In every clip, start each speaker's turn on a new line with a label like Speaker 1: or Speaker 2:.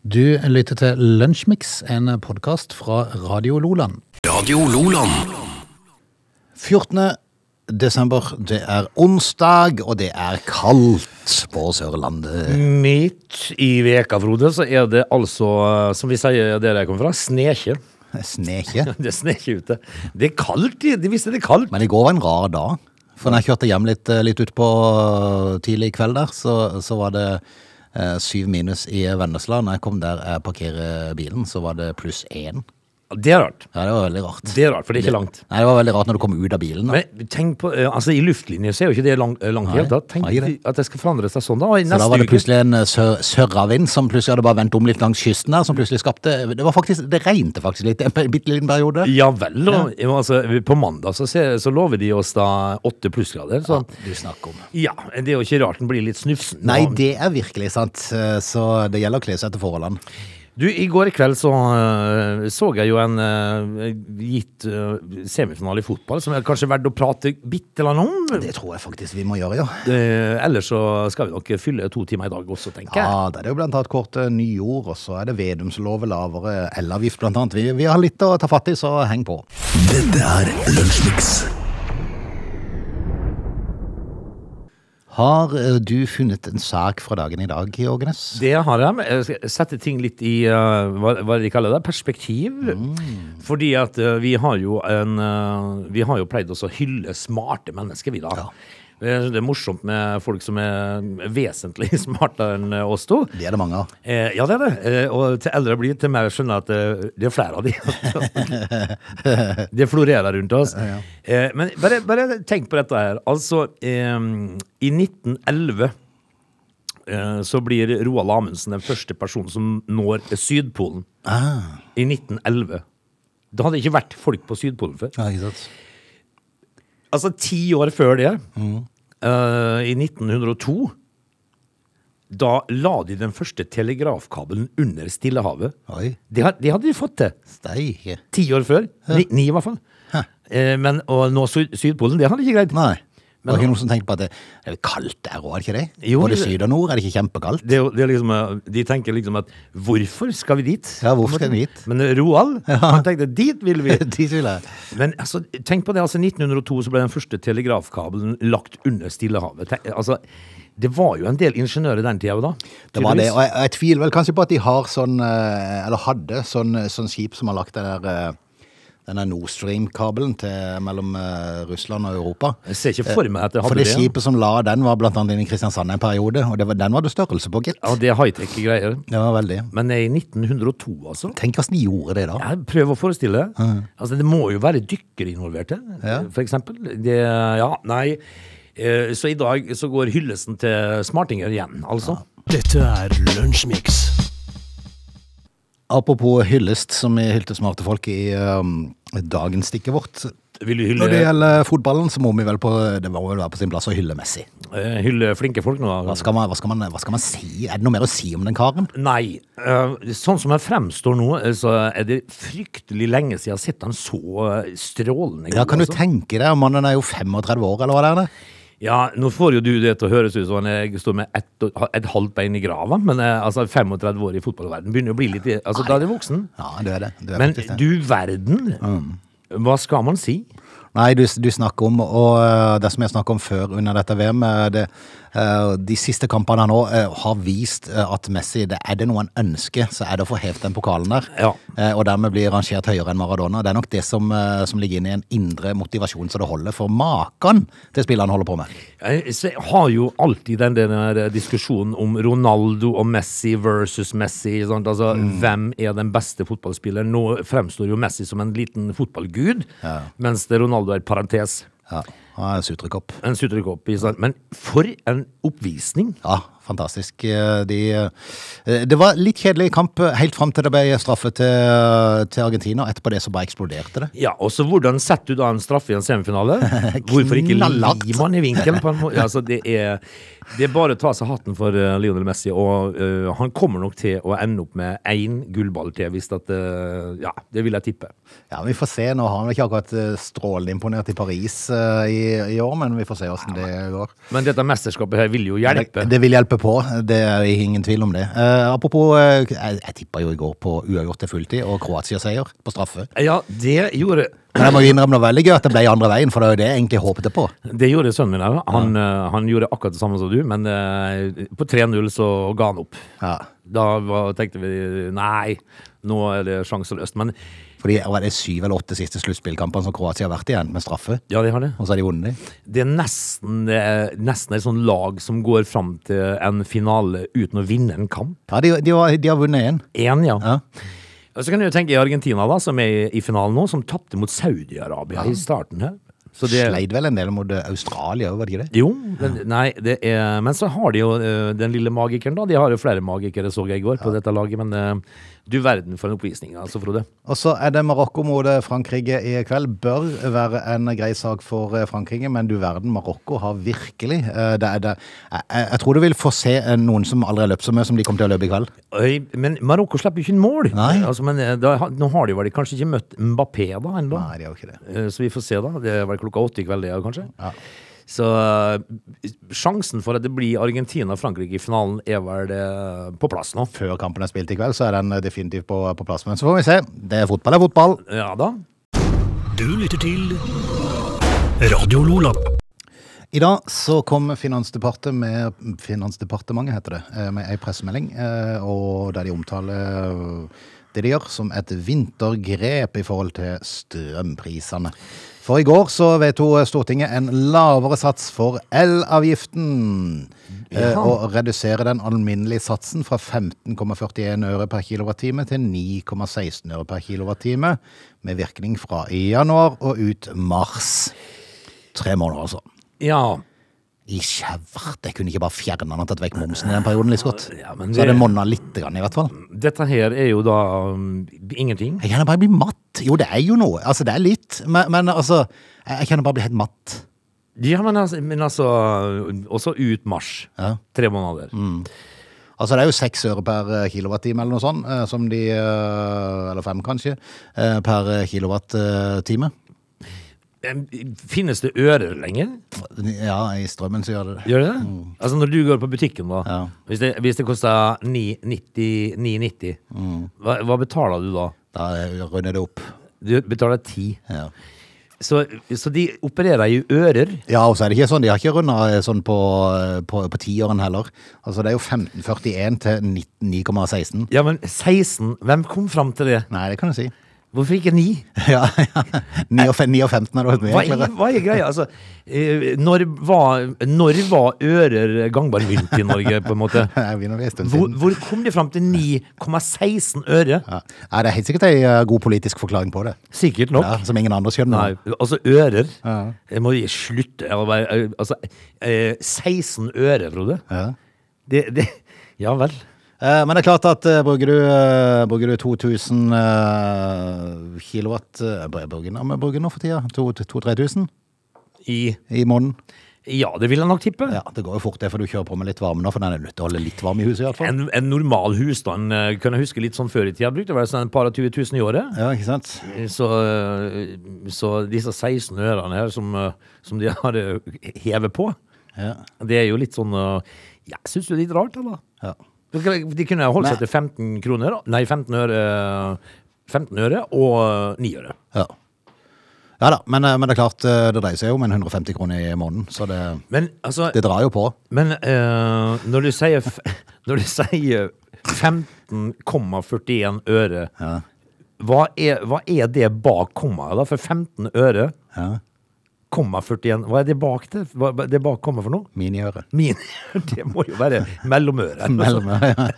Speaker 1: Du lytter til Lunsjmix, en podkast fra Radio Loland.
Speaker 2: Radio Loland.
Speaker 1: 14. desember, det er onsdag, og det er kaldt på Sørlandet.
Speaker 3: Midt i veka, Frode, så er det altså, eh, som vi sier der jeg kommer fra, snekje.
Speaker 1: Snekje.
Speaker 3: Det snekje ute. Det er kaldt, i- de visste det er kaldt.
Speaker 1: Men i går var en rar dag. For når jeg kjørte hjem litt, eh, litt utpå tidlig i kveld der, så, så var det eh, syv minus i Vennesla. Når jeg kom der jeg parkerer bilen, så var det pluss én.
Speaker 3: Det er rart.
Speaker 1: Ja, det var veldig rart.
Speaker 3: Det er rart, for det er ikke langt.
Speaker 1: Nei, det var veldig rart når du kom ut av bilen. Da.
Speaker 3: Men tenk på, eh, altså i luftlinje så er jo ikke det lang, eh, langt i
Speaker 1: Nei,
Speaker 3: hele tatt. Tenk
Speaker 1: nei, det.
Speaker 3: at det skal forandre seg sånn da. Og i
Speaker 1: Så da var
Speaker 3: neste
Speaker 1: det
Speaker 3: uke,
Speaker 1: plutselig en eh, sør sørravind som plutselig hadde bare vendt om litt langs kysten der, som plutselig skapte Det var faktisk, det regnet faktisk litt en bitte liten periode.
Speaker 3: ja vel, og, jo, altså, på mandag så, ser, så lover de oss da åtte plussgrader. Så
Speaker 1: Du snakker om.
Speaker 3: ja, det er jo ikke rart den blir litt snufsen.
Speaker 1: Nei,
Speaker 3: Og-
Speaker 1: det er virkelig sant. Eh, Så det gjelder å kle seg etter forholdene.
Speaker 3: Du, I går kveld så øh, så jeg jo en øh, gitt øh, semifinale i fotball som er kanskje verdt å prate bitte eller om.
Speaker 1: Det tror jeg faktisk vi må gjøre, jo.
Speaker 3: Eh, ellers så skal vi nok fylle to timer i dag også, tenker jeg.
Speaker 1: Ja, det er jo blant annet kort eh, nyord, og så er det vedumslov, lavere elavgift, blant annet. Vi, vi har litt å ta fatt i, så heng på.
Speaker 2: Dette er Lunsjmix.
Speaker 1: Har eh, du funnet en sak fra dagen i dag, Jørgenes?
Speaker 3: Det har jeg. men Jeg skal sette ting litt i eh, hva, hva er det de kaller det? Perspektiv. Fordi at eh, vi har jo en eh, Vi har jo pleid oss å hylle smarte mennesker, vi da. Det er- det er morsomt med folk som er vesentlig smartere enn oss to.
Speaker 1: Det er det mange av.
Speaker 3: Eh, ja, det er det. Eh, og til eldre jeg blir, til mer jeg skjønner at eh, det er flere av de. det florerer rundt oss. Eh, men bare, bare tenk på dette her. Altså, eh, i 1911 eh, så blir Roald Amundsen den første personen som når Sydpolen. I 1911. Det hadde ikke vært folk på Sydpolen før.
Speaker 1: Ja, ikke sant?
Speaker 3: Altså ti år før det,
Speaker 1: Mm.
Speaker 3: eh, i 1902, da la de den første telegrafkabelen under Stillehavet.
Speaker 1: Oi.
Speaker 3: Det, had- det hadde de fått til
Speaker 1: Steike.
Speaker 3: ti år før. Ni, ni i hvert fall. Eh, men å nå Syd Sydpolen, det hadde de ikke greid.
Speaker 1: Nei.
Speaker 3: Men-
Speaker 1: var det ikke noen som tenkte på at det det er jo kaldt der òg, er det ikke det?
Speaker 3: Jo,
Speaker 1: Både
Speaker 3: det-
Speaker 1: syd og nord, er det ikke kjempekaldt?
Speaker 3: Det, er jo- det er liksom, eh, de tenker liksom at hvorfor skal vi dit?
Speaker 1: Ja, hvorfor skal vi dit?
Speaker 3: Men Roald, han tenkte dit vil vi.
Speaker 1: De som ville
Speaker 3: Men altså, tenk på det, altså 1902 så ble den første telegrafkabelen lagt under Stillehavet. Tenk, altså, det var jo en del ingeniører den tida da.
Speaker 1: Det var det,
Speaker 3: tydeligvis.
Speaker 1: og jeg, jeg tviler vel kanskje på at de har sånn, eh, eller hadde sånn, sånn skip som har lagt det der eh, denne Nord Stream-kabelen til- mellom eh, Russland og Europa.
Speaker 3: Jeg ser ikke for meg at det hadde
Speaker 1: Eh, For det
Speaker 3: det.
Speaker 1: skipet som la den, var blant annet inne i Kristiansand en periode, og det var, den var det størrelse på, gitt.
Speaker 3: Ja, det er high-tech greier.
Speaker 1: Det var veldig.
Speaker 3: Men i 1902, altså.
Speaker 1: Tenk hvordan de gjorde det da.
Speaker 3: Jeg prøver å forestille det. Altså, det må jo være dykkere involverte, for eksempel. Det, ja, nei. Eh, Så i dag så går hyllesten til smartinger igjen, altså.
Speaker 2: Dette er Lunsjmix.
Speaker 1: Apropos hyllest, som vi hylte smarte folk i eh, dagens stikket vårt.
Speaker 3: Vil du hylle,
Speaker 1: Når det gjelder fotballen, så må vi vel på, det må vel være på sin plass å hylle Messi.
Speaker 3: eh, hylle flinke folk nå?
Speaker 1: Hva skal, man, hva, skal man, hva skal man si? Er det noe mer å si om den karen?
Speaker 3: Nei. eh, sånn som jeg fremstår nå, eh, så er det fryktelig lenge siden jeg har sett han så eh, strålende god.
Speaker 1: Ja, kan du
Speaker 3: altså.
Speaker 1: tenke deg, mannen er jo 35 år, eller hva det er det?
Speaker 3: Ja, nå får jo du det til å høres ut som han er- står med ett og- ha- et halvt bein i grava, men eh, altså 35 år i fotballverden begynner å bli litt Altså, da er du voksen.
Speaker 1: Ja, du er det. Du er
Speaker 3: Men
Speaker 1: faktisk det. Mm.
Speaker 3: du verden, hva skal man si?
Speaker 1: Nei, du, du snakker om, og eh, det som jeg snakket om før under dette VM, eh, det, eh, de siste kampene nå eh, har vist eh, at Messi, det er det noe han ønsker, så er det å få hevet den pokalen der.
Speaker 3: Ja.
Speaker 1: Eh, Og dermed blir rangert høyere enn Maradona. Det er nok det som, eh, som ligger inne i en indre motivasjon så det holder for maken til spillet han holder på med.
Speaker 3: Jeg se- har jo alltid den der diskusjonen om Ronaldo og Messi versus Messi. Sant? Altså, Hvem er den beste fotballspilleren? Nå fremstår jo Messi som en liten fotballgud, mens det Ronaldo er parentes.
Speaker 1: Ja, han er en sutrekopp.
Speaker 3: En sutrekopp. ikke sant? Men for en oppvisning!
Speaker 1: Ja, fantastisk. Eh, De, eh, det var litt kjedelig kamp eh, helt fram til det ble straffet til, til Argentina. og Etterpå det så bare eksploderte det.
Speaker 3: Ja, og så Hvordan setter du da en straffe i en semifinale? Hvorfor ikke
Speaker 1: Knallhardt.
Speaker 3: lime han i vinkelen? på en måte? Altså, det, er, det er bare å ta seg hatten for eh, Lionel Messi, og eh, han kommer nok til å ende opp med én gullball til, hvis at eh, Ja, det vil jeg tippe.
Speaker 1: Ja, Vi får se. Nå har han vel ikke akkurat eh, strålende imponert i Paris eh, i, i år, men vi får se åssen det går.
Speaker 3: Men dette mesterskapet her vil jo
Speaker 1: Det,
Speaker 3: hjelpe.
Speaker 1: det vil hjelpe hjelper på, det er ingen tvil om det. Eh, apropos, eh, jeg, jeg tippa jo i går på uavgjort til fulltid og Kroatia-seier på straffe.
Speaker 3: Ja, det gjorde
Speaker 1: Men jeg må jo innrømme noe veldig gøy at det ble andre veien, for det var jo det jeg egentlig håpet på.
Speaker 3: det gjorde sønnen min òg. Han, eh, han gjorde akkurat det samme som du, men eh, på 3-0 så ga han opp.
Speaker 1: Ja.
Speaker 3: Da var, tenkte vi nei, nå er det sjanseløst. Men
Speaker 1: Fordi var det syv eller åtte siste sluttspillkampene som Kroatia har vært i, enten med straffe,
Speaker 3: ja, de har det.
Speaker 1: og så har de vunnet de.
Speaker 3: Det er nesten, det er nesten et sånn lag som går fram til en finale uten å vinne en kamp.
Speaker 1: Ja, de, de, var, de har vunnet én.
Speaker 3: Én, ja.
Speaker 1: Ja.
Speaker 3: Og så kan du jo tenke i Argentina, da, som er i finalen nå, som tapte mot Saudi-Arabia i starten her. Så det,
Speaker 1: Sleit vel en del mot eh, Australia òg, var det ikke det?
Speaker 3: jo, men, nei, det er, men så har de jo eh, den lille magikeren, da. De har jo flere magikere, så jeg i går, på dette laget. Men eh, du verden for en oppvisning, altså, Frode.
Speaker 1: Og så er det Marokko mot eh, Frankrike i kveld. Bør være en grei sak for eh, Frankrike, men du verden, Marokko har virkelig eh, det er det. Jeg, jeg jeg tror du vil få se eh, noen som aldri har løpt så mye som de kommer til å løpe i kveld.
Speaker 3: Oi, Men Marokko slipper jo ikke inn mål!
Speaker 1: Nei.
Speaker 3: Altså, men eh, da, nå har de vel kanskje ikke møtt Mbappé da ennå?
Speaker 1: Nei, de har jo ikke det.
Speaker 3: Eh, Så vi får se, da. Det er vel klokka åtte i kveld, det, ja, kanskje.
Speaker 1: Ja.
Speaker 3: Så eh, sjansen for at det blir Argentina-Frankrike i finalen, er vel eh, på plass nå.
Speaker 1: Før kampen er spilt i kveld, så er den eh, definitivt på, på plass. Men så får vi se. Det er fotball, det er fotball.
Speaker 3: Ja da.
Speaker 2: Du lytter til Radio Lola.
Speaker 1: I dag så kom Finansdepartementet med Finansdepartementet heter det, eh, med ei pressemelding eh, og der de omtaler eh, det de gjør som et vintergrep i forhold til strømprisene. For i går så vedtok Stortinget en lavere sats for elavgiften. eh, Og redusere den alminnelige satsen fra 15,41 øre per kilowattime til 9,16 øre per kilowattime. Med virkning fra i januar og ut mars. Tre måneder, altså.
Speaker 3: Ja.
Speaker 1: I kjevert! Jeg kunne ikke bare fjerne den og tatt vekk momsen i den perioden, litt godt.
Speaker 3: Ja, men
Speaker 1: Så hadde
Speaker 3: det-
Speaker 1: det monna litt, grann, i hvert fall.
Speaker 3: Dette her er jo da um, ingenting.
Speaker 1: Jeg kjenner bare jeg blir matt. Jo, det er jo noe. Altså, det er litt, men, men altså Jeg jeg kjenner bare jeg blir helt matt.
Speaker 3: Ja, men altså, men altså Også ut mars.
Speaker 1: Ja. Mm.
Speaker 3: Tre måneder.
Speaker 1: Altså, det er jo seks øre per eh, kilowattime eller noe sånt, eh, som de eh, Eller fem, kanskje, eh, per eh, kilowattime.
Speaker 3: Eh, Finnes det ører lenger?
Speaker 1: Ja, i strømmen så gjør det det.
Speaker 3: Gjør det det? Altså når du går på butikken da
Speaker 1: Mm. Ja.
Speaker 3: Hvis det, hvis det koster 9,90 9,90,
Speaker 1: Mm.
Speaker 3: hva, hva betaler du da?
Speaker 1: Da eh, runder det opp.
Speaker 3: Du betaler 10
Speaker 1: Ja.
Speaker 3: Så, så de opererer i ører
Speaker 1: Ja, og så er det ikke sånn, de har ikke runda sånn på, på, på tiåren heller. Altså, det er jo 1541 til 9,16.
Speaker 3: Ja, men 16, hvem kom frem til det?
Speaker 1: Nei, det kan du si.
Speaker 3: Hvorfor ikke 9?
Speaker 1: Ja, ja. 9 og, fe- 9 og 15 er det vært mye
Speaker 3: Hva er,
Speaker 1: enklere.
Speaker 3: hva er greia? Altså, eh, når, var, når var ører gangbar mynt i Norge på en måte?
Speaker 1: Jeg begynner å bli en stund
Speaker 3: Hvor,
Speaker 1: siden.
Speaker 3: hvor kom de frem til 9,16 øre?
Speaker 1: Ja. Nei, det er helt sikkert ei eh, god politisk forklaring på det.
Speaker 3: Sikkert nok
Speaker 1: Ja, som ingen andre skjønner.
Speaker 3: Nei, altså ører.
Speaker 1: Ja.
Speaker 3: Jeg må slutte. Jeg må bare- Altså, eh, 16 ører, Frode.
Speaker 1: Ja.
Speaker 3: Det, det, ja vel.
Speaker 1: Eh, Men det er klart at eh, bruker du, eh, bruker du 2000 eh, kilowatt eh, br- Bruker ja, men bruker du nå for tida? 2000-3000
Speaker 3: I,
Speaker 1: i måneden?
Speaker 3: ja, det vil jeg nok tippe.
Speaker 1: Ja, det går jo fort det, for du kjører på med litt varme nå, for den er nødt til å holde litt varm i huset i hvert fall.
Speaker 3: En, en normal husstand eh, kan jeg huske litt sånn før i tida. Brukte vel sånn et par og 20 000 i året.
Speaker 1: Ja, ikke sant?
Speaker 3: Så, eh, så disse 16 ørene her som, eh, som de har eh, hevet på,
Speaker 1: Ja.
Speaker 3: det er jo litt sånn eh, ja, Jeg syns jo det er litt rart, eller?
Speaker 1: ja.
Speaker 3: De kunne holdt seg til 15 kroner, da. nei 15 øre, 15 øre og 9 øre.
Speaker 1: ja. Ja da, men, eh, men det er klart eh, det dreier seg jo om en 150 kroner i måneden, så det,
Speaker 3: Men, altså,
Speaker 1: det drar jo på.
Speaker 3: men eh, når, du sier, f- når du sier 15,41 øre, hva, er, hva er det bak kommaet da? For 15 øre,
Speaker 1: Ja.
Speaker 3: komma 41, hva er det bak det? Hva hva er det bak komma for noe?
Speaker 1: Miniøre.
Speaker 3: Min, det må jo være mellomøre.
Speaker 1: Mellomøre, ja.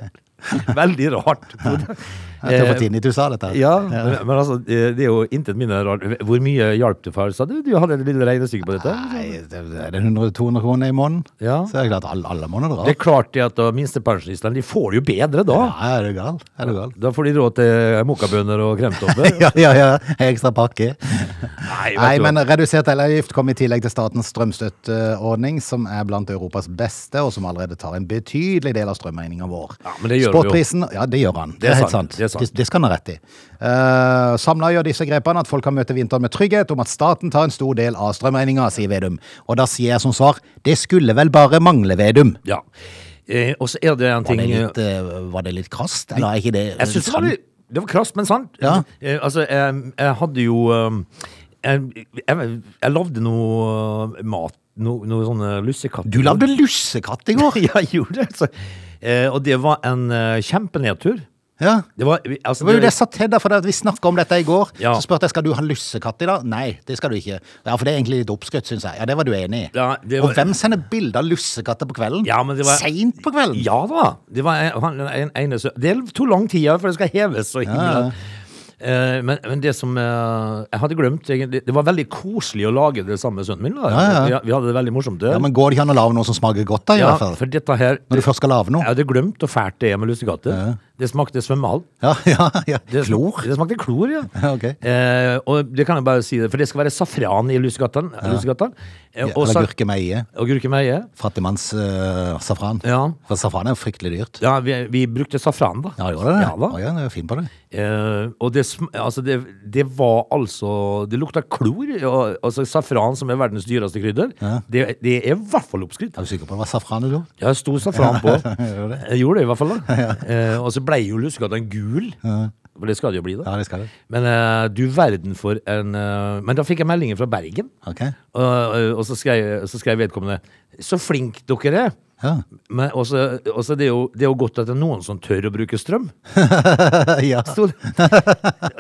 Speaker 3: Veldig rart.
Speaker 1: Jeg tror på Tini du sa dette. her.
Speaker 3: eh, Ja, men, men altså, det det er jo intet mindre rart. Hvor mye hjalp det for? Sa du du hadde et lille regnestykke på dette?
Speaker 1: Nei, det er det 100-200 kroner i måneden,
Speaker 3: Ja.
Speaker 1: så er det klart alle, alle måneder drar.
Speaker 3: Det er klart det at da minstepensjonistene de får det jo bedre da.
Speaker 1: Ja, er du gal? Er du gal?
Speaker 3: Da får de råd til mokkabønner og kremtopper.
Speaker 1: Ja, ja, ja. Ekstra pakke.
Speaker 3: Nei, vet
Speaker 1: Nei,
Speaker 3: du hva.
Speaker 1: men eh, redusert elavgift kom i tillegg til statens strømstøtteordning, som er blant Europas beste, og som allerede tar en betydelig del av strømregninga vår.
Speaker 3: Ja, men det gjør vi jo.
Speaker 1: Spotprisen, ja, det gjør han. Det er, helt sant.
Speaker 3: det er sant.
Speaker 1: Det, det skal han ha rett i. Uh, Samla gjør disse grepene at folk kan møte vinteren med trygghet om at staten tar en stor del av strømregninga, sier Vedum. Og da sier jeg som svar, det skulle vel bare mangle, Vedum.
Speaker 3: Ja. Eh, og så er det
Speaker 1: Var
Speaker 3: en ting
Speaker 1: det litt, eh, var det litt krast? Eller er ikke det sånn?
Speaker 3: Jeg synes det var litt Det var krast, men sant.
Speaker 1: Ja.
Speaker 3: Eh, altså, jeg, jeg hadde jo eh, Jeg, jeg, jeg lagde noe eh, mat. Noe, noe sånne lussekatter.
Speaker 1: Du lagde lussekatt i går!
Speaker 3: Ja, jeg gjorde det. Altså. Eh, og det var en eh, kjempenedtur.
Speaker 1: Ja.
Speaker 3: Det var, altså,
Speaker 1: Det var jo det jeg sa til deg, for det at vi snakka om dette i går.
Speaker 3: Ja.
Speaker 1: Så spurte jeg skal du ha lussekatt i dag. Nei, det skal du ikke. Ja, For det er egentlig litt oppskrytt, syns jeg. Ja, det var du enig i.
Speaker 3: Ja, det var-
Speaker 1: Og hvem sender bilde av lussekatter på kvelden?
Speaker 3: Ja, men det var-
Speaker 1: Seint på kvelden!
Speaker 3: Ja da. Det var en, han- en, ene som- Det tok lang tid, ja, for det skal heves. Og
Speaker 1: Ja, ja.
Speaker 3: Eh, men, men det som eh, jeg hadde glemt egentlig, Det var veldig koselig å lage det sammen med sønnen min. Da.
Speaker 1: Ja,
Speaker 3: Vi, vi hadde det veldig morsomt.
Speaker 1: Ja, Men går det ikke an å lage noe som smaker godt, da? i
Speaker 3: Ja,
Speaker 1: hvert fall?
Speaker 3: for dette her
Speaker 1: Når du først skal lage
Speaker 3: Jeg
Speaker 1: noe?
Speaker 3: hadde glemt hvor fælt det er med lussekatter. Det smakte svømmehall.
Speaker 1: Ja, ja, ja.
Speaker 3: Det,
Speaker 1: Klor?
Speaker 3: Det smakte klor, ja.
Speaker 1: Ja, ok.
Speaker 3: Eh, og det kan jeg bare si, det, for det skal være safran i lussekattene. lussekattene. Eh, og sa-
Speaker 1: Eller gurkemeie?
Speaker 3: og gurkemeie.
Speaker 1: Fattigmanns-safran.
Speaker 3: Ja.
Speaker 1: For eh, safran er jo fryktelig dyrt.
Speaker 3: Ja, vi, vi brukte safran, da.
Speaker 1: Ja, gjorde det det?
Speaker 3: Ja, da.
Speaker 1: Å, ja, det er jo fin på det.
Speaker 3: Eh, og det, sm- altså det, det var altså Det lukta klor. Og, altså Safran, som er verdens dyreste krydder, det, det er i hvert fall oppskrytt.
Speaker 1: Er du sikker på det var safran du gjorde?
Speaker 3: Jeg har stor safran på.
Speaker 1: Gjør det?
Speaker 3: Jeg gjorde det i hvert fall. da Eh, Og så blei jo lussekatten gul. For det skal det jo bli, da.
Speaker 1: Ja, det skal du.
Speaker 3: Men eh, du verden for en eh, Men da fikk jeg meldinger fra Bergen.
Speaker 1: Ok.
Speaker 3: Og, eh, og så, skrev, så skrev vedkommende Så flink dere er!
Speaker 1: Ja.
Speaker 3: Men også, også det, er jo, det er jo godt at det er noen som tør å bruke strøm.
Speaker 1: ja.
Speaker 3: Sto det.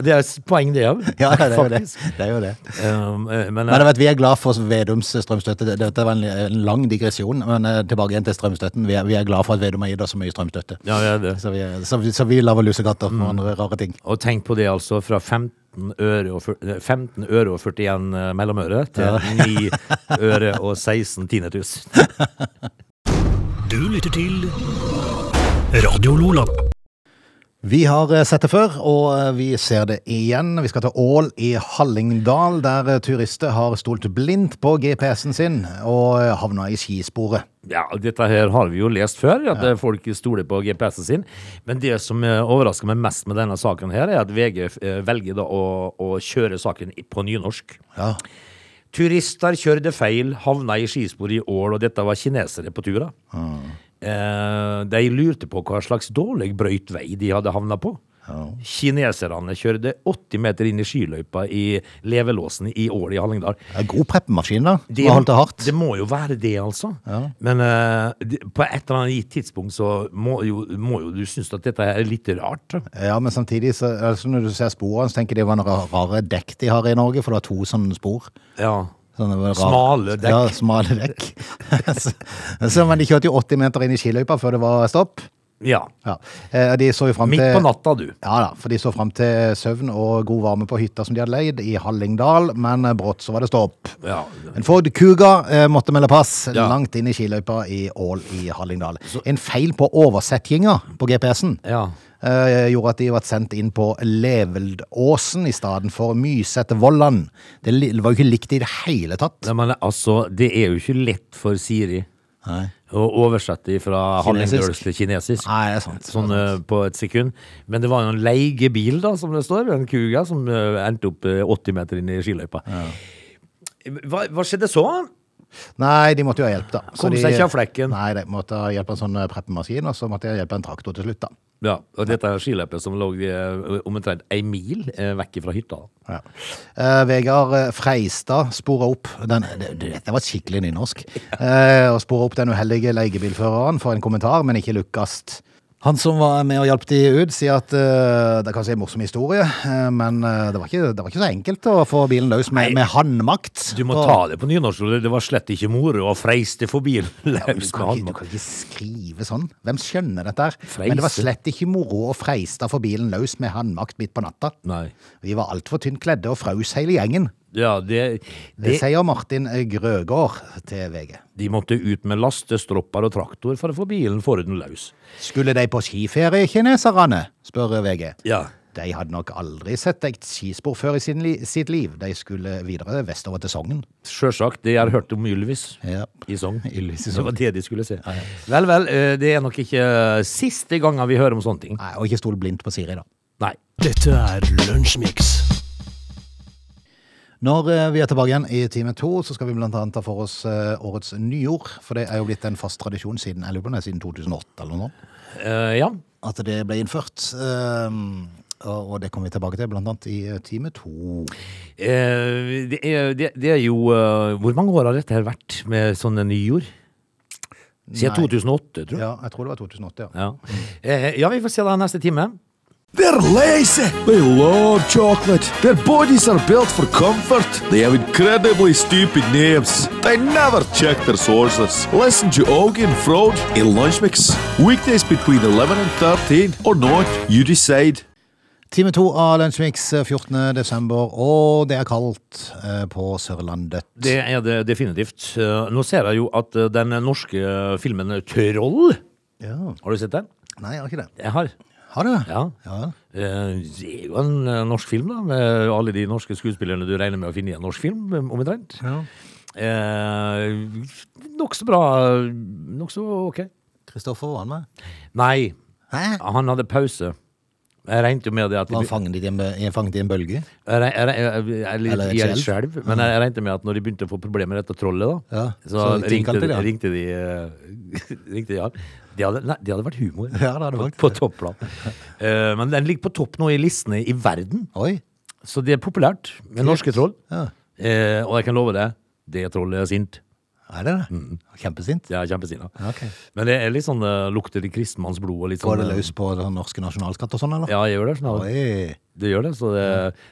Speaker 3: Det er et poeng, det òg.
Speaker 1: Ja, det er jo det. det, er jo det.
Speaker 3: Ehm, eh, men
Speaker 1: Men jeg vet, Vi er glad for Vedums strømstøtte. Det- Dette var en- en lang digresjon, men eh, tilbake igjen til strømstøtten. Vi er, vi er glad for at Vedum har gitt oss så mye strømstøtte.
Speaker 3: ja, Mm. det er det.
Speaker 1: Så vi, så, vi- så vi lager lussekatter og andre rare ting.
Speaker 3: Og tenk på det, altså. Fra 15 øre og, fyr- eh, 15 øre og 41 eh, mellomøre til 9 øre og 16 tiendetus.
Speaker 2: Du lytter til Radio Lola.
Speaker 1: Vi har eh, sett det før, og eh, vi ser det igjen. Vi skal til Ål i Hallingdal, der eh, turister har stolt blindt på GPS-en sin og eh, havna i skisporet.
Speaker 3: Ja, dette her har vi jo lest før, at eh, folk stoler på GPS-en sin. Men det som eh, overrasker meg mest med denne saken her, er at VG eh, velger da å, å kjøre saken i- på nynorsk.
Speaker 1: Ja.
Speaker 3: Turister kjørte feil, havna i skispor i Ål, og dette var kinesere på tur. da.
Speaker 1: Mm.
Speaker 3: Eh, de lurte på hva slags dårlig brøyt vei de hadde havna på. Kineserne kjørte 80 meter inn i skiløypa i Levelåsen i Ål i Hallingdal.
Speaker 1: Det er God preppemaskin, da.
Speaker 3: Det-
Speaker 1: Det, holdt det hardt.
Speaker 3: Det må jo være det, altså. Men eh, det- på et eller annet gitt tidspunkt så må jo, må jo du synes at dette her er litt rart. da.
Speaker 1: Ja, men samtidig, så, altså, når du ser sporene, så tenker jeg det var noen rare dekk de har i Norge, for det var to sånne spor.
Speaker 3: Ja.
Speaker 1: Sånne rar-
Speaker 3: Smale dekk.
Speaker 1: Ja, smale dekk. så, så, men de kjørte jo 80 meter inn i skiløypa før det var stopp.
Speaker 3: ja.
Speaker 1: Ja. Eh, De så jo frem
Speaker 3: Midt
Speaker 1: til...
Speaker 3: på natta, du.
Speaker 1: Ja da, for de så frem til søvn og god varme på hytta som de hadde leid i Hallingdal, men eh, brått så var det stopp.
Speaker 3: Ja.
Speaker 1: En Ford Kuga eh, måtte melde pass
Speaker 3: Ja.
Speaker 1: langt inn i skiløypa i Ål i Hallingdal. En feil på oversettinga på GPS-en
Speaker 3: ja.
Speaker 1: eh, gjorde at de ble sendt inn på Leveldåsen i stedet for Mysetvollan. Det li- var jo ikke likt i det hele tatt.
Speaker 3: Nei, men altså, det er jo ikke lett for Siri
Speaker 1: Nei,
Speaker 3: å oversette fra
Speaker 1: Kinesisk.
Speaker 3: hallingdølsk til kinesisk.
Speaker 1: Nei det er sant.
Speaker 3: Sånn eh, på et sekund. Men det var jo en leiebil, da, som det står. En kuga som eh, endte opp eh, 80 meter inn i skiløypa. Hva, hva skjedde så?
Speaker 1: Nei, de måtte jo ha hjelp, da.
Speaker 3: Kom
Speaker 1: de,
Speaker 3: seg ikke av flekken.
Speaker 1: Nei, de måtte ha hjelp av en sånn eh, preppemaskin, og så måtte jeg hjelpe en traktor til slutt, da.
Speaker 3: Ja, og dette er skiløypet som lå eh, omtrent ei mil eh, vekk fra hytta.
Speaker 1: Ja. Eh, Vegard eh, Freistad spora opp den, det, det- Dette var skikkelig nynorsk. Eh, og spora opp den uheldige leiebilføreren for en kommentar, men ikke lukkast. Han som var med og hjalp de ut, sier at eh, det er kanskje en morsom historie, eh, men eh, det, var ikke, det var ikke så enkelt å få bilen løs med, med handmakt.
Speaker 3: Du må
Speaker 1: Og-
Speaker 3: ta det på nynorsk, Ole. det var slett ikke moro å freiste forbi løs
Speaker 1: Eh, Du kan,
Speaker 3: med
Speaker 1: ikke, du
Speaker 3: håndbak.
Speaker 1: kan ikke skrive sånn. Hvem skjønner dette her? Men det var
Speaker 3: Freiste.
Speaker 1: slett ikke moro å freiste for bilen løs med handmakt midt på natta.
Speaker 3: Nei.
Speaker 1: Vi var altfor tynt kledde og fraus hele gjengen.
Speaker 3: Ja, det,
Speaker 1: Det
Speaker 3: det,
Speaker 1: sier Martin Grøgaard til VG.
Speaker 3: de måtte ut med lastestropper og traktor for å få bilen forhuden løs.
Speaker 1: Skulle de på skiferie, kineserne? spør VG.
Speaker 3: Ja.
Speaker 1: De hadde nok aldri sett et skispor før i sin li sitt liv. De skulle videre vestover til Sogn.
Speaker 3: Sjølsagt. Det jeg har hørt om Ylvis
Speaker 1: Ja.
Speaker 3: i Sogn.
Speaker 1: Ylvis i
Speaker 3: Det
Speaker 1: Sogn.
Speaker 3: var det de skulle se. Vel, vel. eh, Det er nok ikke siste gangen vi hører om sånne ting.
Speaker 1: Nei, og ikke stol blindt på Siri, da.
Speaker 3: Nei.
Speaker 2: Dette er Lunsjmix.
Speaker 1: Når eh, vi er tilbake igjen i time to, så skal vi blant annet ta for oss eh, årets nyord. For det er jo blitt en fast tradisjon siden, jeg lurer på om det er siden 2008 eller noe sånt.
Speaker 3: Eh, ja.
Speaker 1: at det ble innført. ehm, og og det kommer vi tilbake til, blant annet i eh, time to.
Speaker 3: Eh, det, er, det, det er jo eh, Hvor mange år har dette her vært med sånne nyord? Siden
Speaker 1: Nei.
Speaker 3: 2008, tror jeg. Ja.
Speaker 1: Ja, jeg tror det var 2008, ja.
Speaker 3: Ja. Eh, ja, vi får se da neste time.
Speaker 4: They're lazy. They love chocolate. Their bodies are built for comfort. They have incredibly stupid names. They never check their sources. Listen to Augie and Frode in Lunch Mix. Weekdays between 11 and 13 or not, you decide.
Speaker 1: Time to av Lunsjmix eh, 14. desember, og det er kaldt eh, på Sørlandet.
Speaker 3: Det er det definitivt. Eh, Nå ser jeg jo at eh, den norske filmen Troll
Speaker 1: Ja.
Speaker 3: Har du sett den?
Speaker 1: Nei, jeg har ikke det.
Speaker 3: Jeg har.
Speaker 1: Har du det?
Speaker 3: Ja.
Speaker 1: Ja.
Speaker 3: Eh, Det er jo en eh, norsk film, da, med alle de norske skuespillerne du regner med å finne i en norsk film, eh, omtrent.
Speaker 1: ja.
Speaker 3: Eh, Nokså bra. Nokså ok.
Speaker 1: Kristoffer var han med?
Speaker 3: Nei,
Speaker 1: Hæ?
Speaker 3: han hadde pause. Jeg regnet jo med det at
Speaker 1: Var han fanget i en, bø- i- fanget i en bølge?
Speaker 3: Jeg reg- jeg reg- jeg- jeg er litt-
Speaker 1: Eller et
Speaker 3: jeg er litt
Speaker 1: skjelv.
Speaker 3: skjelv, men jeg jeg regnet med at når de begynte å få problemer med dette trollet, da,
Speaker 1: Ja,
Speaker 3: så,
Speaker 1: så de
Speaker 3: ringte,
Speaker 1: tilkalte
Speaker 3: de,
Speaker 1: de, ja.
Speaker 3: ringte de eh, Ringte de, ja. De hadde, nei, de hadde vært humor
Speaker 1: Ja, det hadde
Speaker 3: på,
Speaker 1: vært.
Speaker 3: på topplan. Eh, men den ligger på topp nå i listene i verden,
Speaker 1: Oi.
Speaker 3: så det er populært med norske troll.
Speaker 1: Ja.
Speaker 3: Eh, og jeg kan love deg, det trollet er sint.
Speaker 1: Er det det? Mm. Kjempesint.
Speaker 3: Det er kjempesinna.
Speaker 1: Ok.
Speaker 3: Men det er litt sånn eh, lukter det kristenmanns blod og litt sånn
Speaker 1: Går det
Speaker 3: eh,
Speaker 1: løs på den norske nasjonalskatt og sånn, eller?
Speaker 3: Ja, jeg gjør det. Sånn, at-
Speaker 1: Oi.
Speaker 3: det gjør det, så det,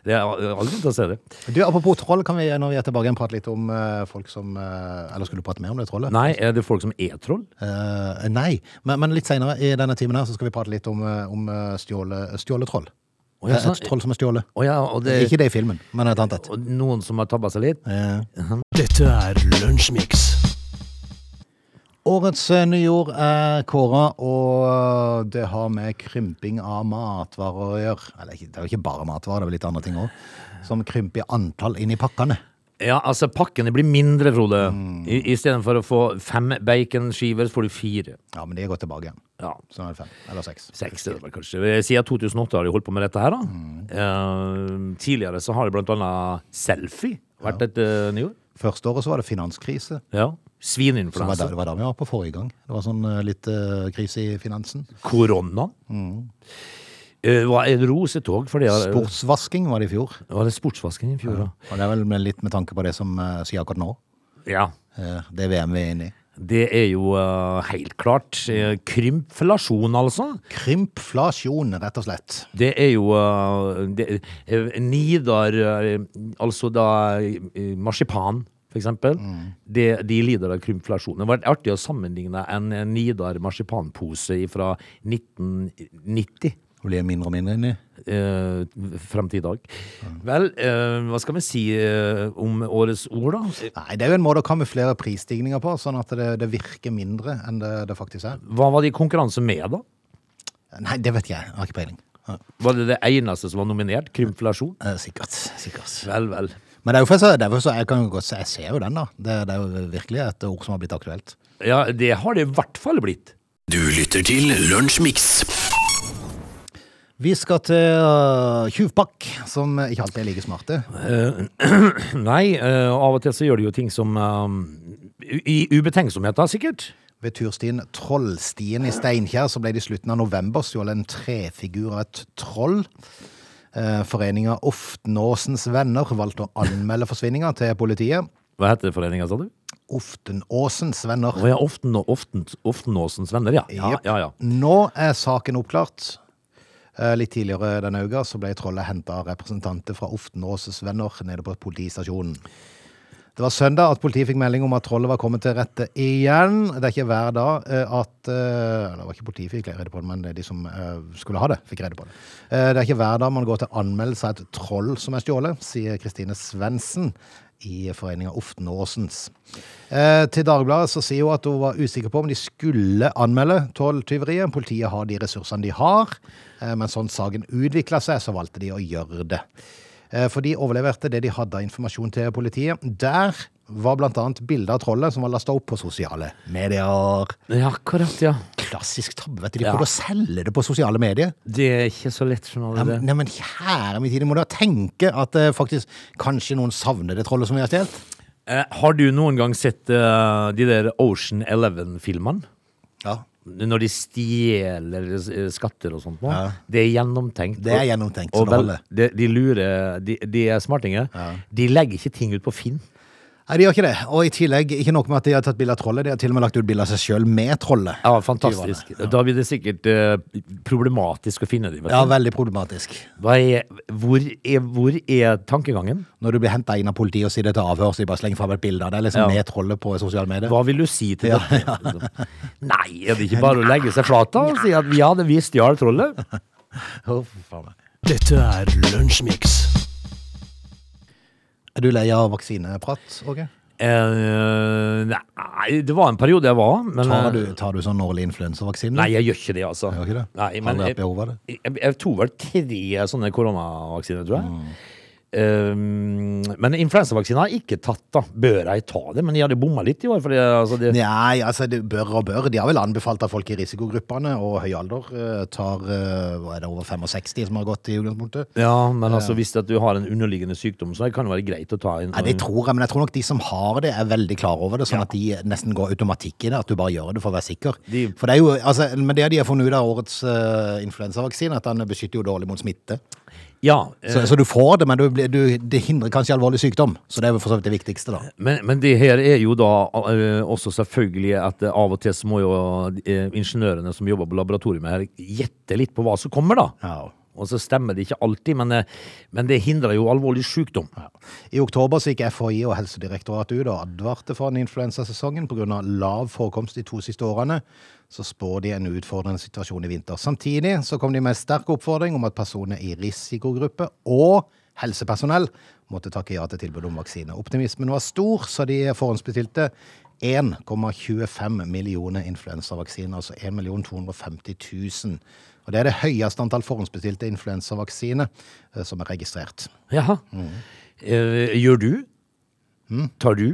Speaker 3: det er all grunn til å se det.
Speaker 1: Du, Apropos troll, kan vi når vi er tilbake igjen prate litt om eh, folk som eh, Eller skulle du prate mer om det trollet?
Speaker 3: Nei, er det folk som er troll?
Speaker 1: Eh, nei, men, men litt senere i denne timen her så skal vi prate litt om, eh, om eh, stjåle, stjåletroll.
Speaker 3: Å, ja,
Speaker 1: Eh,
Speaker 3: sånn-
Speaker 1: et troll som er stjålet.
Speaker 3: Å ja, og det,
Speaker 1: Ikke det i filmen, men et annet et.
Speaker 3: og noen som har tabba seg litt?
Speaker 1: Eh,
Speaker 2: Dette er Lunsjmix.
Speaker 1: årets eh, nyord er kåra, og det har med krymping av matvarer å gjøre. Eller ikke- det er jo ikke bare matvarer, det er vel litt andre ting òg. Som krymper i antall inn i pakkene.
Speaker 3: Ja, altså pakkene blir mindre, Frode.
Speaker 1: Mm.
Speaker 3: I Istedenfor å få fem baconskiver, så får du fire.
Speaker 1: Ja, men de har gått tilbake igjen.
Speaker 3: Ja,
Speaker 1: Så nå er det fem. Eller seks.
Speaker 3: seks er det vel kanskje. Siden 2008 har de holdt på med dette her, da. Eh, tidligere så har det blant annet selfie vært et uh, nyord.
Speaker 1: Første året så var det finanskrise.
Speaker 3: Ja.
Speaker 1: Det var, da,
Speaker 3: Svineinfluensa.
Speaker 1: det var da vi var på forrige gang. Det var sånn eh, litt eh, krise i finansen.
Speaker 3: Korona. Eh, hva er rosetog? For det er,
Speaker 1: Sportsvasking var det i fjor.
Speaker 3: Var det sportsvasken i fjor, da?
Speaker 1: Og det er vel med, litt med tanke på det som eh, sier akkurat nå.
Speaker 3: Ja.
Speaker 1: Eh, det VM vi er inne i.
Speaker 3: Det er jo eh, helt klart eh, krympflasjon, altså.
Speaker 1: Krympflasjon, rett og slett.
Speaker 3: Det er jo uh, det, eh, Nidar, eh, altså da eh, marsipan, for eksempel, det, de lider av krympflasjon. Det var vært artig å sammenligne en eh, Nidar marsipanpose fra 1990
Speaker 1: Det blir mindre og mindre inni.
Speaker 3: eh, frem til i dag. Vel, eh, hva skal vi si eh, om årets ord, da?
Speaker 1: Nei, det er jo en måte å kamuflere prisstigninger på, sånn at det, det virker mindre enn det, det faktisk er.
Speaker 3: Hva var det i konkurranse med, da?
Speaker 1: Nei, det vet jeg. Jeg har ikke peiling. Ja,
Speaker 3: Var det det eneste som var nominert? Krympflasjon?
Speaker 1: eh, sikkert. sikkert.
Speaker 3: Vel, vel.
Speaker 1: Men det er jo for så, det er for så, jeg kan jo godt se, jeg ser jo den, da. Det, det er jo virkelig et ord som har blitt aktuelt.
Speaker 3: Ja, det har det i hvert fall blitt.
Speaker 2: Du lytter til Lunsjmix.
Speaker 1: Vi skal til øh, tjuvpakk, som ikke alltid er like smarte.
Speaker 3: Nei, eh, av og til så gjør de jo ting som eh, I i ubetenksomhet, da, sikkert.
Speaker 1: Ved turstien Trollstien i Steinkjer så ble det i slutten av november stjålet en trefigur av et troll. Eh, Foreninga Oftenåsens Venner valgte å anmelde forsvinninga til politiet.
Speaker 3: Hva heter foreninga, sa du?
Speaker 1: Oftenåsens Venner.
Speaker 3: Å ja, often, often, Oftenåsens venner, ja. Ja,
Speaker 1: Jepp.
Speaker 3: ja, ja.
Speaker 1: Nå er saken oppklart. Eh, Litt tidligere denne uka så ble trollet henta av representanter fra Oftenåses venner nede på politistasjonen. Det var søndag at politiet fikk melding om at trollet var kommet til rette igjen. Det er ikke hver dag eh, at eh, eller Det var ikke politiet fikk rede på det, men det er de som eh, skulle ha det, fikk rede på det. Eh, Det er ikke hver dag man går til anmeldelse av et troll som er stjålet, sier Kristine Svendsen i foreninga Oftenåsens. Eh, til Dagbladet så sier hun at hun var usikker på om de skulle anmelde trolltyveriet. Politiet har de ressursene de har, eh, men sånn saken utvikla seg, så valgte de å gjøre det. Eh, For de overleverte det de hadde av informasjon til politiet. Der var blant annet bilder av trollet som var lasta opp på sosiale medier.
Speaker 3: Ja, akkurat, ja.
Speaker 1: Klassisk tabbe, vet du. De
Speaker 3: Ja.
Speaker 1: prøvde å selge det på sosiale medier.
Speaker 3: Det er ikke så lett, skjønner
Speaker 1: Ja,
Speaker 3: du
Speaker 1: men-
Speaker 3: det.
Speaker 1: Nei, men kjære min tid, de må da tenke at eh, faktisk kanskje noen savner det trollet som vi har stjålet?
Speaker 3: Eh, har du noen gang sett eh, de der Ocean Eleven-filmene?
Speaker 1: Ja.
Speaker 3: Når de stjeler eh, skatter og sånt nå.
Speaker 1: Ja.
Speaker 3: Det er gjennomtenkt.
Speaker 1: Det er
Speaker 3: og-
Speaker 1: gjennomtenkt, så
Speaker 3: Og
Speaker 1: det
Speaker 3: vel,
Speaker 1: holder.
Speaker 3: de, de lurer De, de er smartinger. De legger ikke ting ut på Finn.
Speaker 1: Nei, de gjør ikke det. Og i tillegg, ikke nok med at de har tatt bilde av trollet, de har til og med lagt ut bilde av seg sjøl med trollet.
Speaker 3: Ja, fantastisk. Da blir det sikkert eh, problematisk å finne dem.
Speaker 1: Ja, veldig problematisk.
Speaker 3: Hva er, hvor, er, hvor er tankegangen?
Speaker 1: Når du blir henta inn av politiet og sier det til avhør, så de bare slenger fram et bilde av deg liksom, med trollet på sosiale medier.
Speaker 3: Hva vil du si til dette? liksom? Nei, er det ikke bare å legge seg flat da og si at ja, det vi stjal trollet?
Speaker 1: Å, fy faen meg.
Speaker 2: Dette er Lunsjmix.
Speaker 1: Er du lei av vaksineprat, Åge?
Speaker 3: Eh, nei, det var en periode jeg var, men
Speaker 1: Tar,
Speaker 3: eh,
Speaker 1: du- tar du sånn årlig influensavaksine?
Speaker 3: Nei, jeg gjør ikke det, altså.
Speaker 1: Gjør ikke det?
Speaker 3: Nei,
Speaker 1: Har
Speaker 3: men
Speaker 1: du hatt
Speaker 3: jeg,
Speaker 1: behov av det?
Speaker 3: jeg, jeg tok vel tre sånne koronavaksiner, tror
Speaker 1: Mm.
Speaker 3: jeg. Eh, men influensavaksinen har jeg ikke tatt, da. Bør jeg ta det? Men jeg hadde bomma litt i år. For det, altså, det,
Speaker 1: Nei, altså det bør og bør. De har vel anbefalt at folk i risikogruppene og høy alder eh, tar eh, hva er det, over 65 som har gått i utgangspunktet.
Speaker 3: Ja,
Speaker 1: Eh.
Speaker 3: men altså hvis at du har en underliggende sykdom, så kan det være greit å ta en
Speaker 1: Nei, det tror jeg, men jeg tror nok de som har det, er veldig klar over det, sånn
Speaker 3: Mm. Ja.
Speaker 1: at de nesten går automatikk i det. At du bare gjør det for å være sikker.
Speaker 3: De-
Speaker 1: For det er jo, altså, Men det de har funnet ut av årets eh, influensavaksine, at den beskytter jo dårlig mot smitte.
Speaker 3: Ja, eh,
Speaker 1: Så, så du får det, men du, blir- du, det hindrer kanskje alvorlig sykdom. Så det er vel for så vidt det viktigste, da.
Speaker 3: men, men det her er jo da eh, også selvfølgelig at eh, av og til så må jo eh, ingeniørene som jobber på laboratoriet her, gjette litt på hva som kommer, da.
Speaker 1: Ja.
Speaker 3: Og så stemmer det ikke alltid, men, eh, men det hindrer jo alvorlig sykdom.
Speaker 1: I oktober så gikk FHI og Helsedirektoratet ut og advarte for den influensasesongen pga. lav forekomst de to siste årene. Så spår de en utfordrende situasjon i vinter. Samtidig så kom de med en sterk oppfordring om at personer i risikogruppe og helsepersonell måtte takke ja til tilbudet om vaksine. Optimismen var stor, så de forhåndsbestilte 1,25 millioner influensavaksiner, altså 1.250.000. Og det er det høyeste antall forhåndsbestilte influensavaksiner eh, som er registrert.
Speaker 3: Jaha.
Speaker 1: Mm.
Speaker 3: Eh, gjør du? Tar du?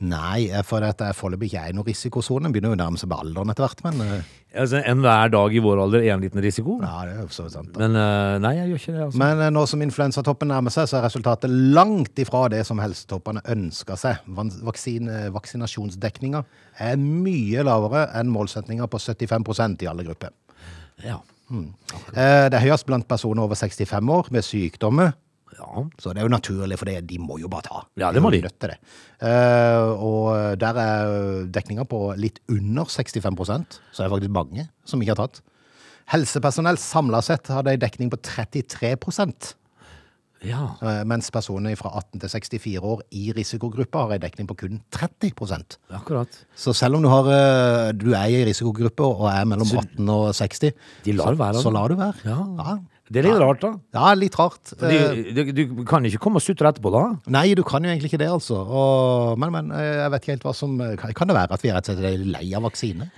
Speaker 1: Nei, eh, for at jeg foreløpig ikke er i noen risikosone. Begynner jo å nærme seg med alderen etter hvert, men eh,
Speaker 3: Altså, Enhver dag i vår alder er en liten risiko.
Speaker 1: ja, det er jo så vidt sant. da.
Speaker 3: Men eh, nei, jeg gjør ikke det. altså.
Speaker 1: Men eh, nå som influensatoppen nærmer seg, så er resultatet langt ifra det som helsetoppene ønsker seg. Van- Vaksin, eh, vaksinasjonsdekninga er mye lavere enn målsetninga på 75 i alle grupper.
Speaker 3: Ja.
Speaker 1: Eh, Det er høyest blant personer over 65 år med sykdommer.
Speaker 3: ja.
Speaker 1: Så det er jo naturlig, for det, de må jo bare ta.
Speaker 3: Ja, det må
Speaker 1: er
Speaker 3: de.
Speaker 1: jo nødt til det. Eh, og der er dekninga på litt under 65 så er det faktisk mange som ikke har tatt. Helsepersonell samla sett hadde en dekning på 33
Speaker 3: ja.
Speaker 1: eh, mens personer fra 18 til 64 år i risikogruppa har en dekning på kun 30
Speaker 3: Akkurat.
Speaker 1: Så selv om du, har, eh, du er i risikogruppe og er mellom 18 og 60,
Speaker 3: De lar
Speaker 1: så,
Speaker 3: være, da.
Speaker 1: så lar du være.
Speaker 3: Ja.
Speaker 1: Ja.
Speaker 3: Det er litt rart, da.
Speaker 1: Ja, litt rart. Eh,
Speaker 3: Du, du, du kan ikke komme og sutre etterpå, da.
Speaker 1: Nei, du kan jo egentlig ikke det, altså. Og, men, men, eh, jeg vet ikke helt hva som Kan kan det være at vi rett og slett er lei av vaksine?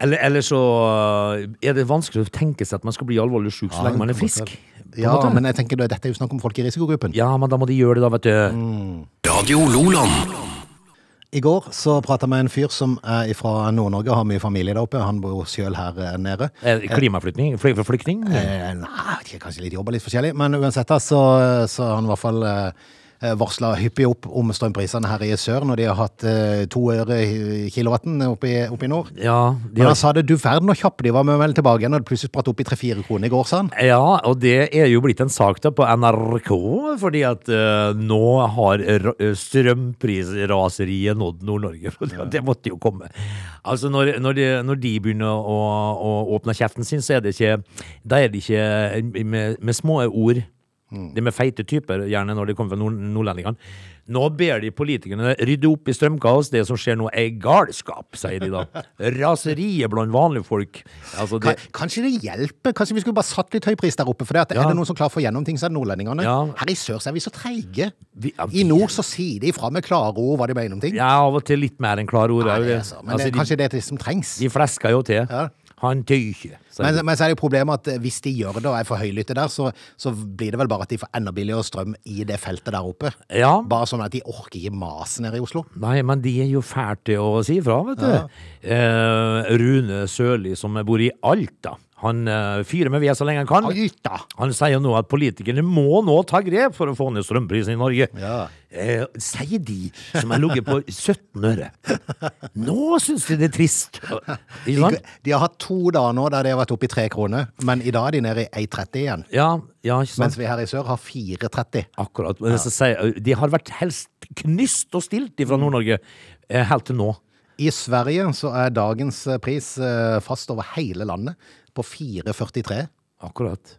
Speaker 3: Eller, eller så øh, er det vanskelig å tenke seg at man skal bli alvorlig syk så lenge man er frisk. på en
Speaker 1: Ja,
Speaker 3: måte.
Speaker 1: men jeg tenker det- dette er jo snakk om folk i risikogruppen.
Speaker 3: ja, men da må de gjøre det, da, vet du.
Speaker 2: Radio Loland.
Speaker 1: I går så prata jeg med en fyr som er fra Nord-Norge, har mye familie der oppe. Han bor sjøl her eh, nede.
Speaker 3: Eh, Klimaflyktning? Fly, flyktning?
Speaker 1: Eh, Nei, jeg vet ikke, kanskje litt jobb og litt forskjellig, men uansett da, så, så har han i hvert fall eh, varsla hyppig opp om strømprisene her i sør når de har hatt eh, to øre i kilowatten oppe i, oppe i nord.
Speaker 3: Ja, de
Speaker 1: Men han
Speaker 3: har,
Speaker 1: sa det, du verden hvor kjappe de var med å melde tilbake igjen, og det plutselig spratt opp i tre-fire kroner i går, sa han.
Speaker 3: ja, og det er jo blitt en sak da på NRK, fordi at øh, nå har r- øh, strømprisraseriet nådd Nord-Norge. og Det, det måtte jo komme. Altså, når, når, de, når de begynner å, å åpne kjeften sin, så er det ikke, da er det ikke med, med små ord.
Speaker 1: Mm.
Speaker 3: Det med feite typer, gjerne når det kommer fra nord nordlendingene. Nå ber de politikerne rydde opp i strømkaos. Det som skjer nå er galskap, sier de da. Raseriet blant vanlige folk. Altså det,
Speaker 1: Ka- Kanskje det hjelper? Kanskje vi skulle bare satt litt høy pris der oppe? For det at,
Speaker 3: Ja.
Speaker 1: er det noen som klarer å få gjennom ting, så er det nordlendingene.
Speaker 3: Ja.
Speaker 1: Her i sør så er vi så treige.
Speaker 3: Vi- ja, vi-
Speaker 1: I nord så sier de ifra med klare ord hva de mener om ting.
Speaker 3: ja, av og til litt mer enn klare ord.
Speaker 1: Nei,
Speaker 3: er jo det.
Speaker 1: altså, men
Speaker 3: Altså,
Speaker 1: det er
Speaker 3: de,
Speaker 1: kanskje det er det som trengs.
Speaker 3: de flesker jo til.
Speaker 1: Ja.
Speaker 3: Han tykje.
Speaker 1: Men, men så er det jo problemet at eh, hvis de gjør det og er for høylytte der, så, så blir det vel bare at de får enda billigere strøm i det feltet der oppe.
Speaker 3: Ja.
Speaker 1: Bare sånn at de orker ikke mase nede i Oslo.
Speaker 3: Nei, men de er jo fælt til å si ifra, vet du. Eh, Rune Sørli, som bor i Alta, han eh, fyrer med ved så lenge han kan.
Speaker 1: Alta.
Speaker 3: Han sier nå at politikerne må nå ta grep for å få ned strømprisen i Norge.
Speaker 1: Ja.
Speaker 3: Eh, sier de som har ligget på 17 øre. Nå syns de det er trist. Ikke
Speaker 1: De,
Speaker 3: sant?
Speaker 1: de har hatt to dager nå der de har vært oppe i tre kroner, men i dag er de nede i 1,30 igjen.
Speaker 3: Ja, ja, ikke sant.
Speaker 1: Mens vi her i sør har 4,30.
Speaker 3: Akkurat. Men så sier, de har vært helst knyst og stilt
Speaker 1: Mm.
Speaker 3: fra Nord-Norge eh, helt til nå.
Speaker 1: I Sverige så er dagens eh, pris eh, fast over hele landet på 4,43.
Speaker 3: Akkurat.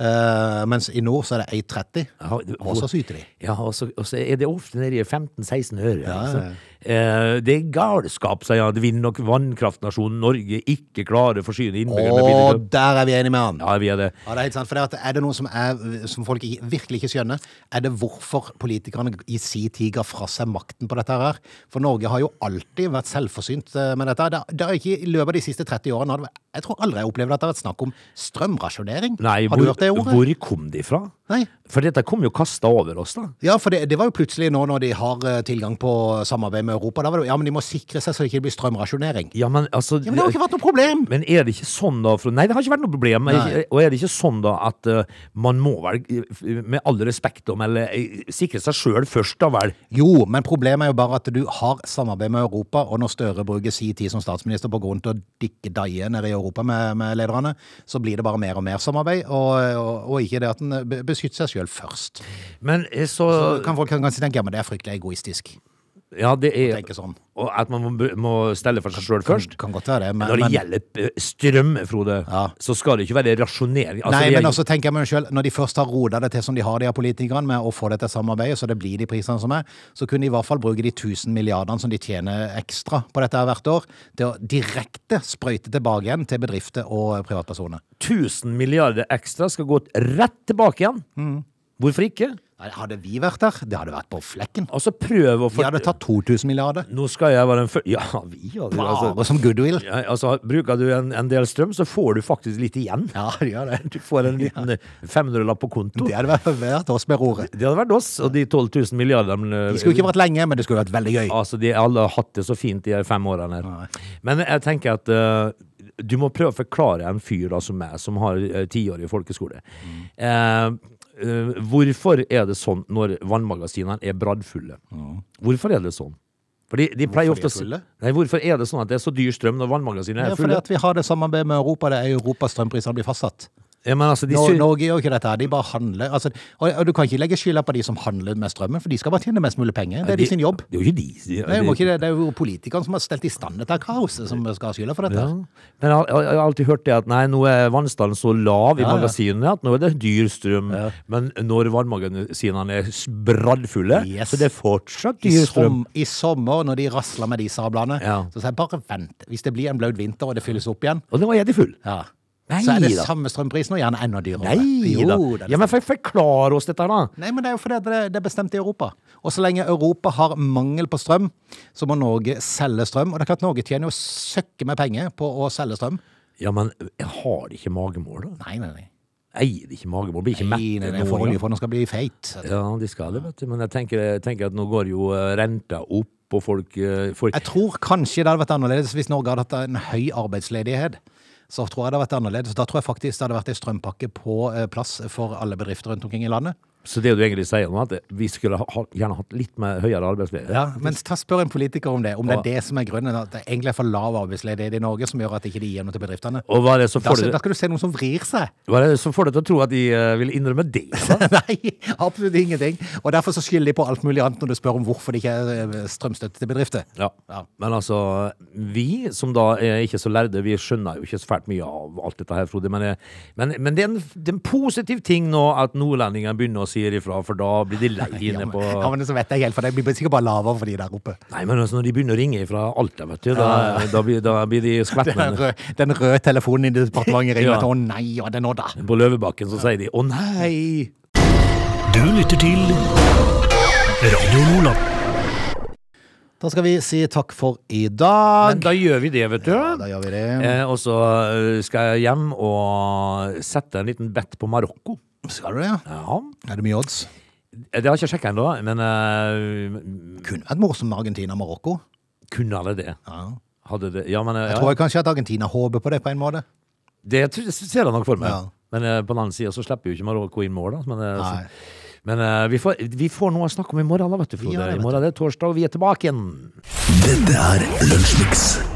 Speaker 1: eh, mens i nord så er det 1,30.
Speaker 3: Ja,
Speaker 1: Og så syter de.
Speaker 3: Ja, og så, og så er det ofte nede i 15-16 øre. altså. Eh, det er galskap, sier han, at vind- og vannkraftnasjonen Norge ikke klarer å forsyne innbyggerne med
Speaker 1: Og
Speaker 3: billig kraft.
Speaker 1: der er vi enige med han!
Speaker 3: Ja, vi er det.
Speaker 1: Ja, det Er helt sant, for det at er det noe som, er, som folk ikke- virkelig ikke skjønner, er det hvorfor politikerne i si tid ga fra seg makten på dette her. For Norge har jo alltid vært selvforsynt eh, med dette. Det, det har ikke, I løpet av de siste 30 årene har det vært- Jeg tror aldri jeg har opplevd at det har vært snakk om strømrasjonering.
Speaker 3: Nei,
Speaker 1: har du
Speaker 3: hvor,
Speaker 1: hørt det ordet?
Speaker 3: hvor kom de fra?
Speaker 1: Nei.
Speaker 3: For dette kom jo kasta over oss, da.
Speaker 1: Ja, for det, det var jo plutselig nå når de har eh, tilgang på samarbeid med Europa. Da var det, jo, ja, men de må sikre seg så det ikke blir strømrasjonering.
Speaker 3: Ja, men altså
Speaker 1: Ja, men det har jo ikke vært noe problem!
Speaker 3: Men er det ikke sånn da for, Nei, det har ikke vært noe problem. men
Speaker 1: Nei.
Speaker 3: ikke- Og er det ikke sånn da at eh, man må vel, eh, med all respekt om, eller eh, sikre seg sjøl først, da vel?
Speaker 1: Jo, men problemet er jo bare at du har samarbeid med Europa, og når Støre bruker si tid som statsminister på grunn til å dikke daie nede i Europa med, med lederne, så blir det bare mer og mer samarbeid, og, og, og ikke det at en be- beskytter seg sjøl først.
Speaker 3: Men eh, så,
Speaker 1: Så kan folk kanskje tenke ja, men det er fryktelig egoistisk.
Speaker 3: Ja, det er
Speaker 1: Tenke sånn.
Speaker 3: og At man må, må stelle for seg sjøl først?
Speaker 1: Kan godt være det, men,
Speaker 3: Når det
Speaker 1: men
Speaker 3: gjelder eh, strøm, Frode,
Speaker 1: Ja.
Speaker 3: så skal det ikke være rasjonering. Altså,
Speaker 1: Nei,
Speaker 3: vi er-
Speaker 1: men også tenker jeg meg selv, når de først har roda det til som de har de her politikerne med å få dette samarbeidet, så det blir de prisene som er, så kunne de i hvert fall bruke de tusen milliardene som de tjener ekstra på dette her hvert år, til å direkte sprøyte tilbake igjen til bedrifter og privatpersoner.
Speaker 3: 1000 milliarder ekstra skal gå rett tilbake igjen.
Speaker 1: Mm.
Speaker 3: Hvorfor ikke?
Speaker 1: Nei, Hadde vi vært der, det hadde vært på flekken.
Speaker 3: Altså, prøv å
Speaker 1: Vi
Speaker 3: få
Speaker 1: hadde tatt 2000 milliarder.
Speaker 3: Nå skal jeg være den første Ja, vi hadde altså,
Speaker 1: Bare som goodwill.
Speaker 3: ja, altså, Bruker du en, en del strøm, så får du faktisk litt igjen.
Speaker 1: Ja, det gjør det.
Speaker 3: Du får en liten 500-lapp på konto.
Speaker 1: Det
Speaker 3: Det,
Speaker 1: hadde vært- vært oss med roret.
Speaker 3: hadde vært oss, og de 12 000 milliardene eh,
Speaker 1: Det skulle ikke vært lenge, men det skulle vært veldig gøy.
Speaker 3: Altså, de alle har hatt det så fint de her fem årene her. Men jeg tenker at eh, du må prøve å forklare en fyr da som meg, som har eh, tiårig folkeskole. Eh, eh, hvorfor er det sånn når vannmagasinene er braddfulle? Hvorfor er det sånn? Fordi de pleier
Speaker 1: Hvorfor de
Speaker 3: ofte
Speaker 1: er
Speaker 3: å si-
Speaker 1: fulle?
Speaker 3: Nei, hvorfor er det sånn at det er så dyr strøm når vannmagasinene
Speaker 1: Ja,
Speaker 3: er
Speaker 1: fordi
Speaker 3: fulle?
Speaker 1: at vi har det samarbeidet med Europa, det er Europas strømpriser blir fastsatt.
Speaker 3: Ja, men altså, de
Speaker 1: Nor
Speaker 3: sy-
Speaker 1: Norge gjør ikke dette, her, de bare handler. Altså, og, og du kan ikke legge skylda på de som handler med strømmen, for de skal bare tjene mest mulig penger. Det er de sin jobb.
Speaker 3: Det er jo ikke de. de-
Speaker 1: Det er jo,
Speaker 3: de-
Speaker 1: ikke det. Det er jo politikerne som har stelt i stand dette kaoset, som skal ha skylda for dette.
Speaker 3: Ja.
Speaker 1: her.
Speaker 3: Men jeg har, jeg har alltid hørt det at nei, nå er vannstanden så lav i
Speaker 1: Ja, ja.
Speaker 3: magasinene at nå er det dyr strøm. Men når vannmagasinene er s- braddfulle,
Speaker 1: Yes.
Speaker 3: så det er fortsatt
Speaker 1: I,
Speaker 3: dyr strøm.
Speaker 1: som, I sommer, når de rasler med de sablene,
Speaker 3: Ja.
Speaker 1: så sier jeg bare vent. Hvis det blir en blaut vinter, og det fylles opp igjen,
Speaker 3: Og nå er de full.
Speaker 1: ja.
Speaker 3: Nei
Speaker 1: så er det
Speaker 3: da.
Speaker 1: samme strømprisen, og gjerne enda dyrere.
Speaker 3: Nei
Speaker 1: jo,
Speaker 3: da.
Speaker 1: det er det
Speaker 3: Ja, men for, forklar oss dette, her, da.
Speaker 1: Nei, men det er jo fordi at det, det er bestemt i Europa. Og så lenge Europa har mangel på strøm, så må Norge selge strøm. Og det er klart Norge tjener jo søkke med penger på å selge strøm.
Speaker 3: Ja, men jeg har de ikke magemål, da?
Speaker 1: Nei, nei, nei.
Speaker 3: Eier de ikke magemål? Blir ikke
Speaker 1: Nei, nei,
Speaker 3: mette nå?
Speaker 1: nei, for
Speaker 3: ja.
Speaker 1: oljefondet skal bli feit.
Speaker 3: Ja, de skal det, vet du. Men jeg tenker, jeg tenker at nå går jo eh, renta opp, og folk eh, får
Speaker 1: Jeg tror kanskje det hadde vært annerledes hvis Norge hadde hatt en høy arbeidsledighet. Så tror jeg det hadde vært annerledes. Da tror jeg faktisk det hadde vært en strømpakke på eh, plass for alle bedrifter rundt omkring i landet.
Speaker 3: Så det du egentlig sier nå, at vi skulle ha, ha- gjerne hatt litt mer høyere arbeidsledighet.
Speaker 1: Men ta spør en politiker om det, om det er det som er grunnen. At det egentlig er for lav arbeidsledighet i Norge som gjør at ikke de gir noe til bedriftene.
Speaker 3: Og hva er det som
Speaker 1: Da,
Speaker 3: får det
Speaker 1: da skal du se noen som vrir seg.
Speaker 3: Hva er det som får deg til å tro at de eh, vil innrømme det? da?
Speaker 1: Nei, absolutt ingenting. Og derfor så skylder de på alt mulig annet når du spør om hvorfor det ikke er eh, strømstøtte til bedrifter.
Speaker 3: Ja. Men altså, vi som da er ikke så lærde, vi skjønner jo ikke så fælt mye av alt dette her, Frode. Men, eh, men, men det, er en, det er en positiv ting nå at nordlendingene begynner å si ifra, for da blir de lei
Speaker 1: Ja,
Speaker 3: inne
Speaker 1: men,
Speaker 3: på
Speaker 1: ja, men så vet jeg helt, for det blir sikkert bare lavere for de der oppe.
Speaker 3: Nei, men altså, når de begynner å ringe fra Alta, vet du, da, da, blir, da blir de
Speaker 1: Den
Speaker 3: skvettende.
Speaker 1: røde, den røde telefonen i departementet ringer
Speaker 3: Ja.
Speaker 1: til, å nei, ja, det er nå da.
Speaker 3: På Løvebakken så sier de 'Å nei'.
Speaker 2: Du lytter til Radio Lola.
Speaker 1: Da skal vi si takk for i dag.
Speaker 3: Men da gjør vi det, vet du.
Speaker 1: da gjør vi det.
Speaker 3: Eh, og så eh, skal jeg hjem og sette en liten bet på Marokko.
Speaker 1: Skal du det, ja?
Speaker 3: Ja.
Speaker 1: Er det mye odds?
Speaker 3: Det har jeg ikke sjekka ennå, men eh,
Speaker 1: Kunne vært morsomt med Argentina og Marokko.
Speaker 3: kunne det det?
Speaker 1: Ja.
Speaker 3: Hadde det ja, men, eh,
Speaker 1: Jeg
Speaker 3: ja,
Speaker 1: tror kanskje at Argentina håper på det på en måte.
Speaker 3: Det tror- det ser jeg nok for meg.
Speaker 1: Ja.
Speaker 3: Men eh, på den annen side så slipper jo ikke Marokko inn mål, da. Men, eh,
Speaker 1: Nei.
Speaker 3: så, men eh, vi, får, vi får noe å snakke om i morgen, da, vet du, Frode.
Speaker 1: gjør det, vet
Speaker 3: I morgen er det torsdag, og vi er tilbake igjen.
Speaker 2: Dette er Lunsjmix.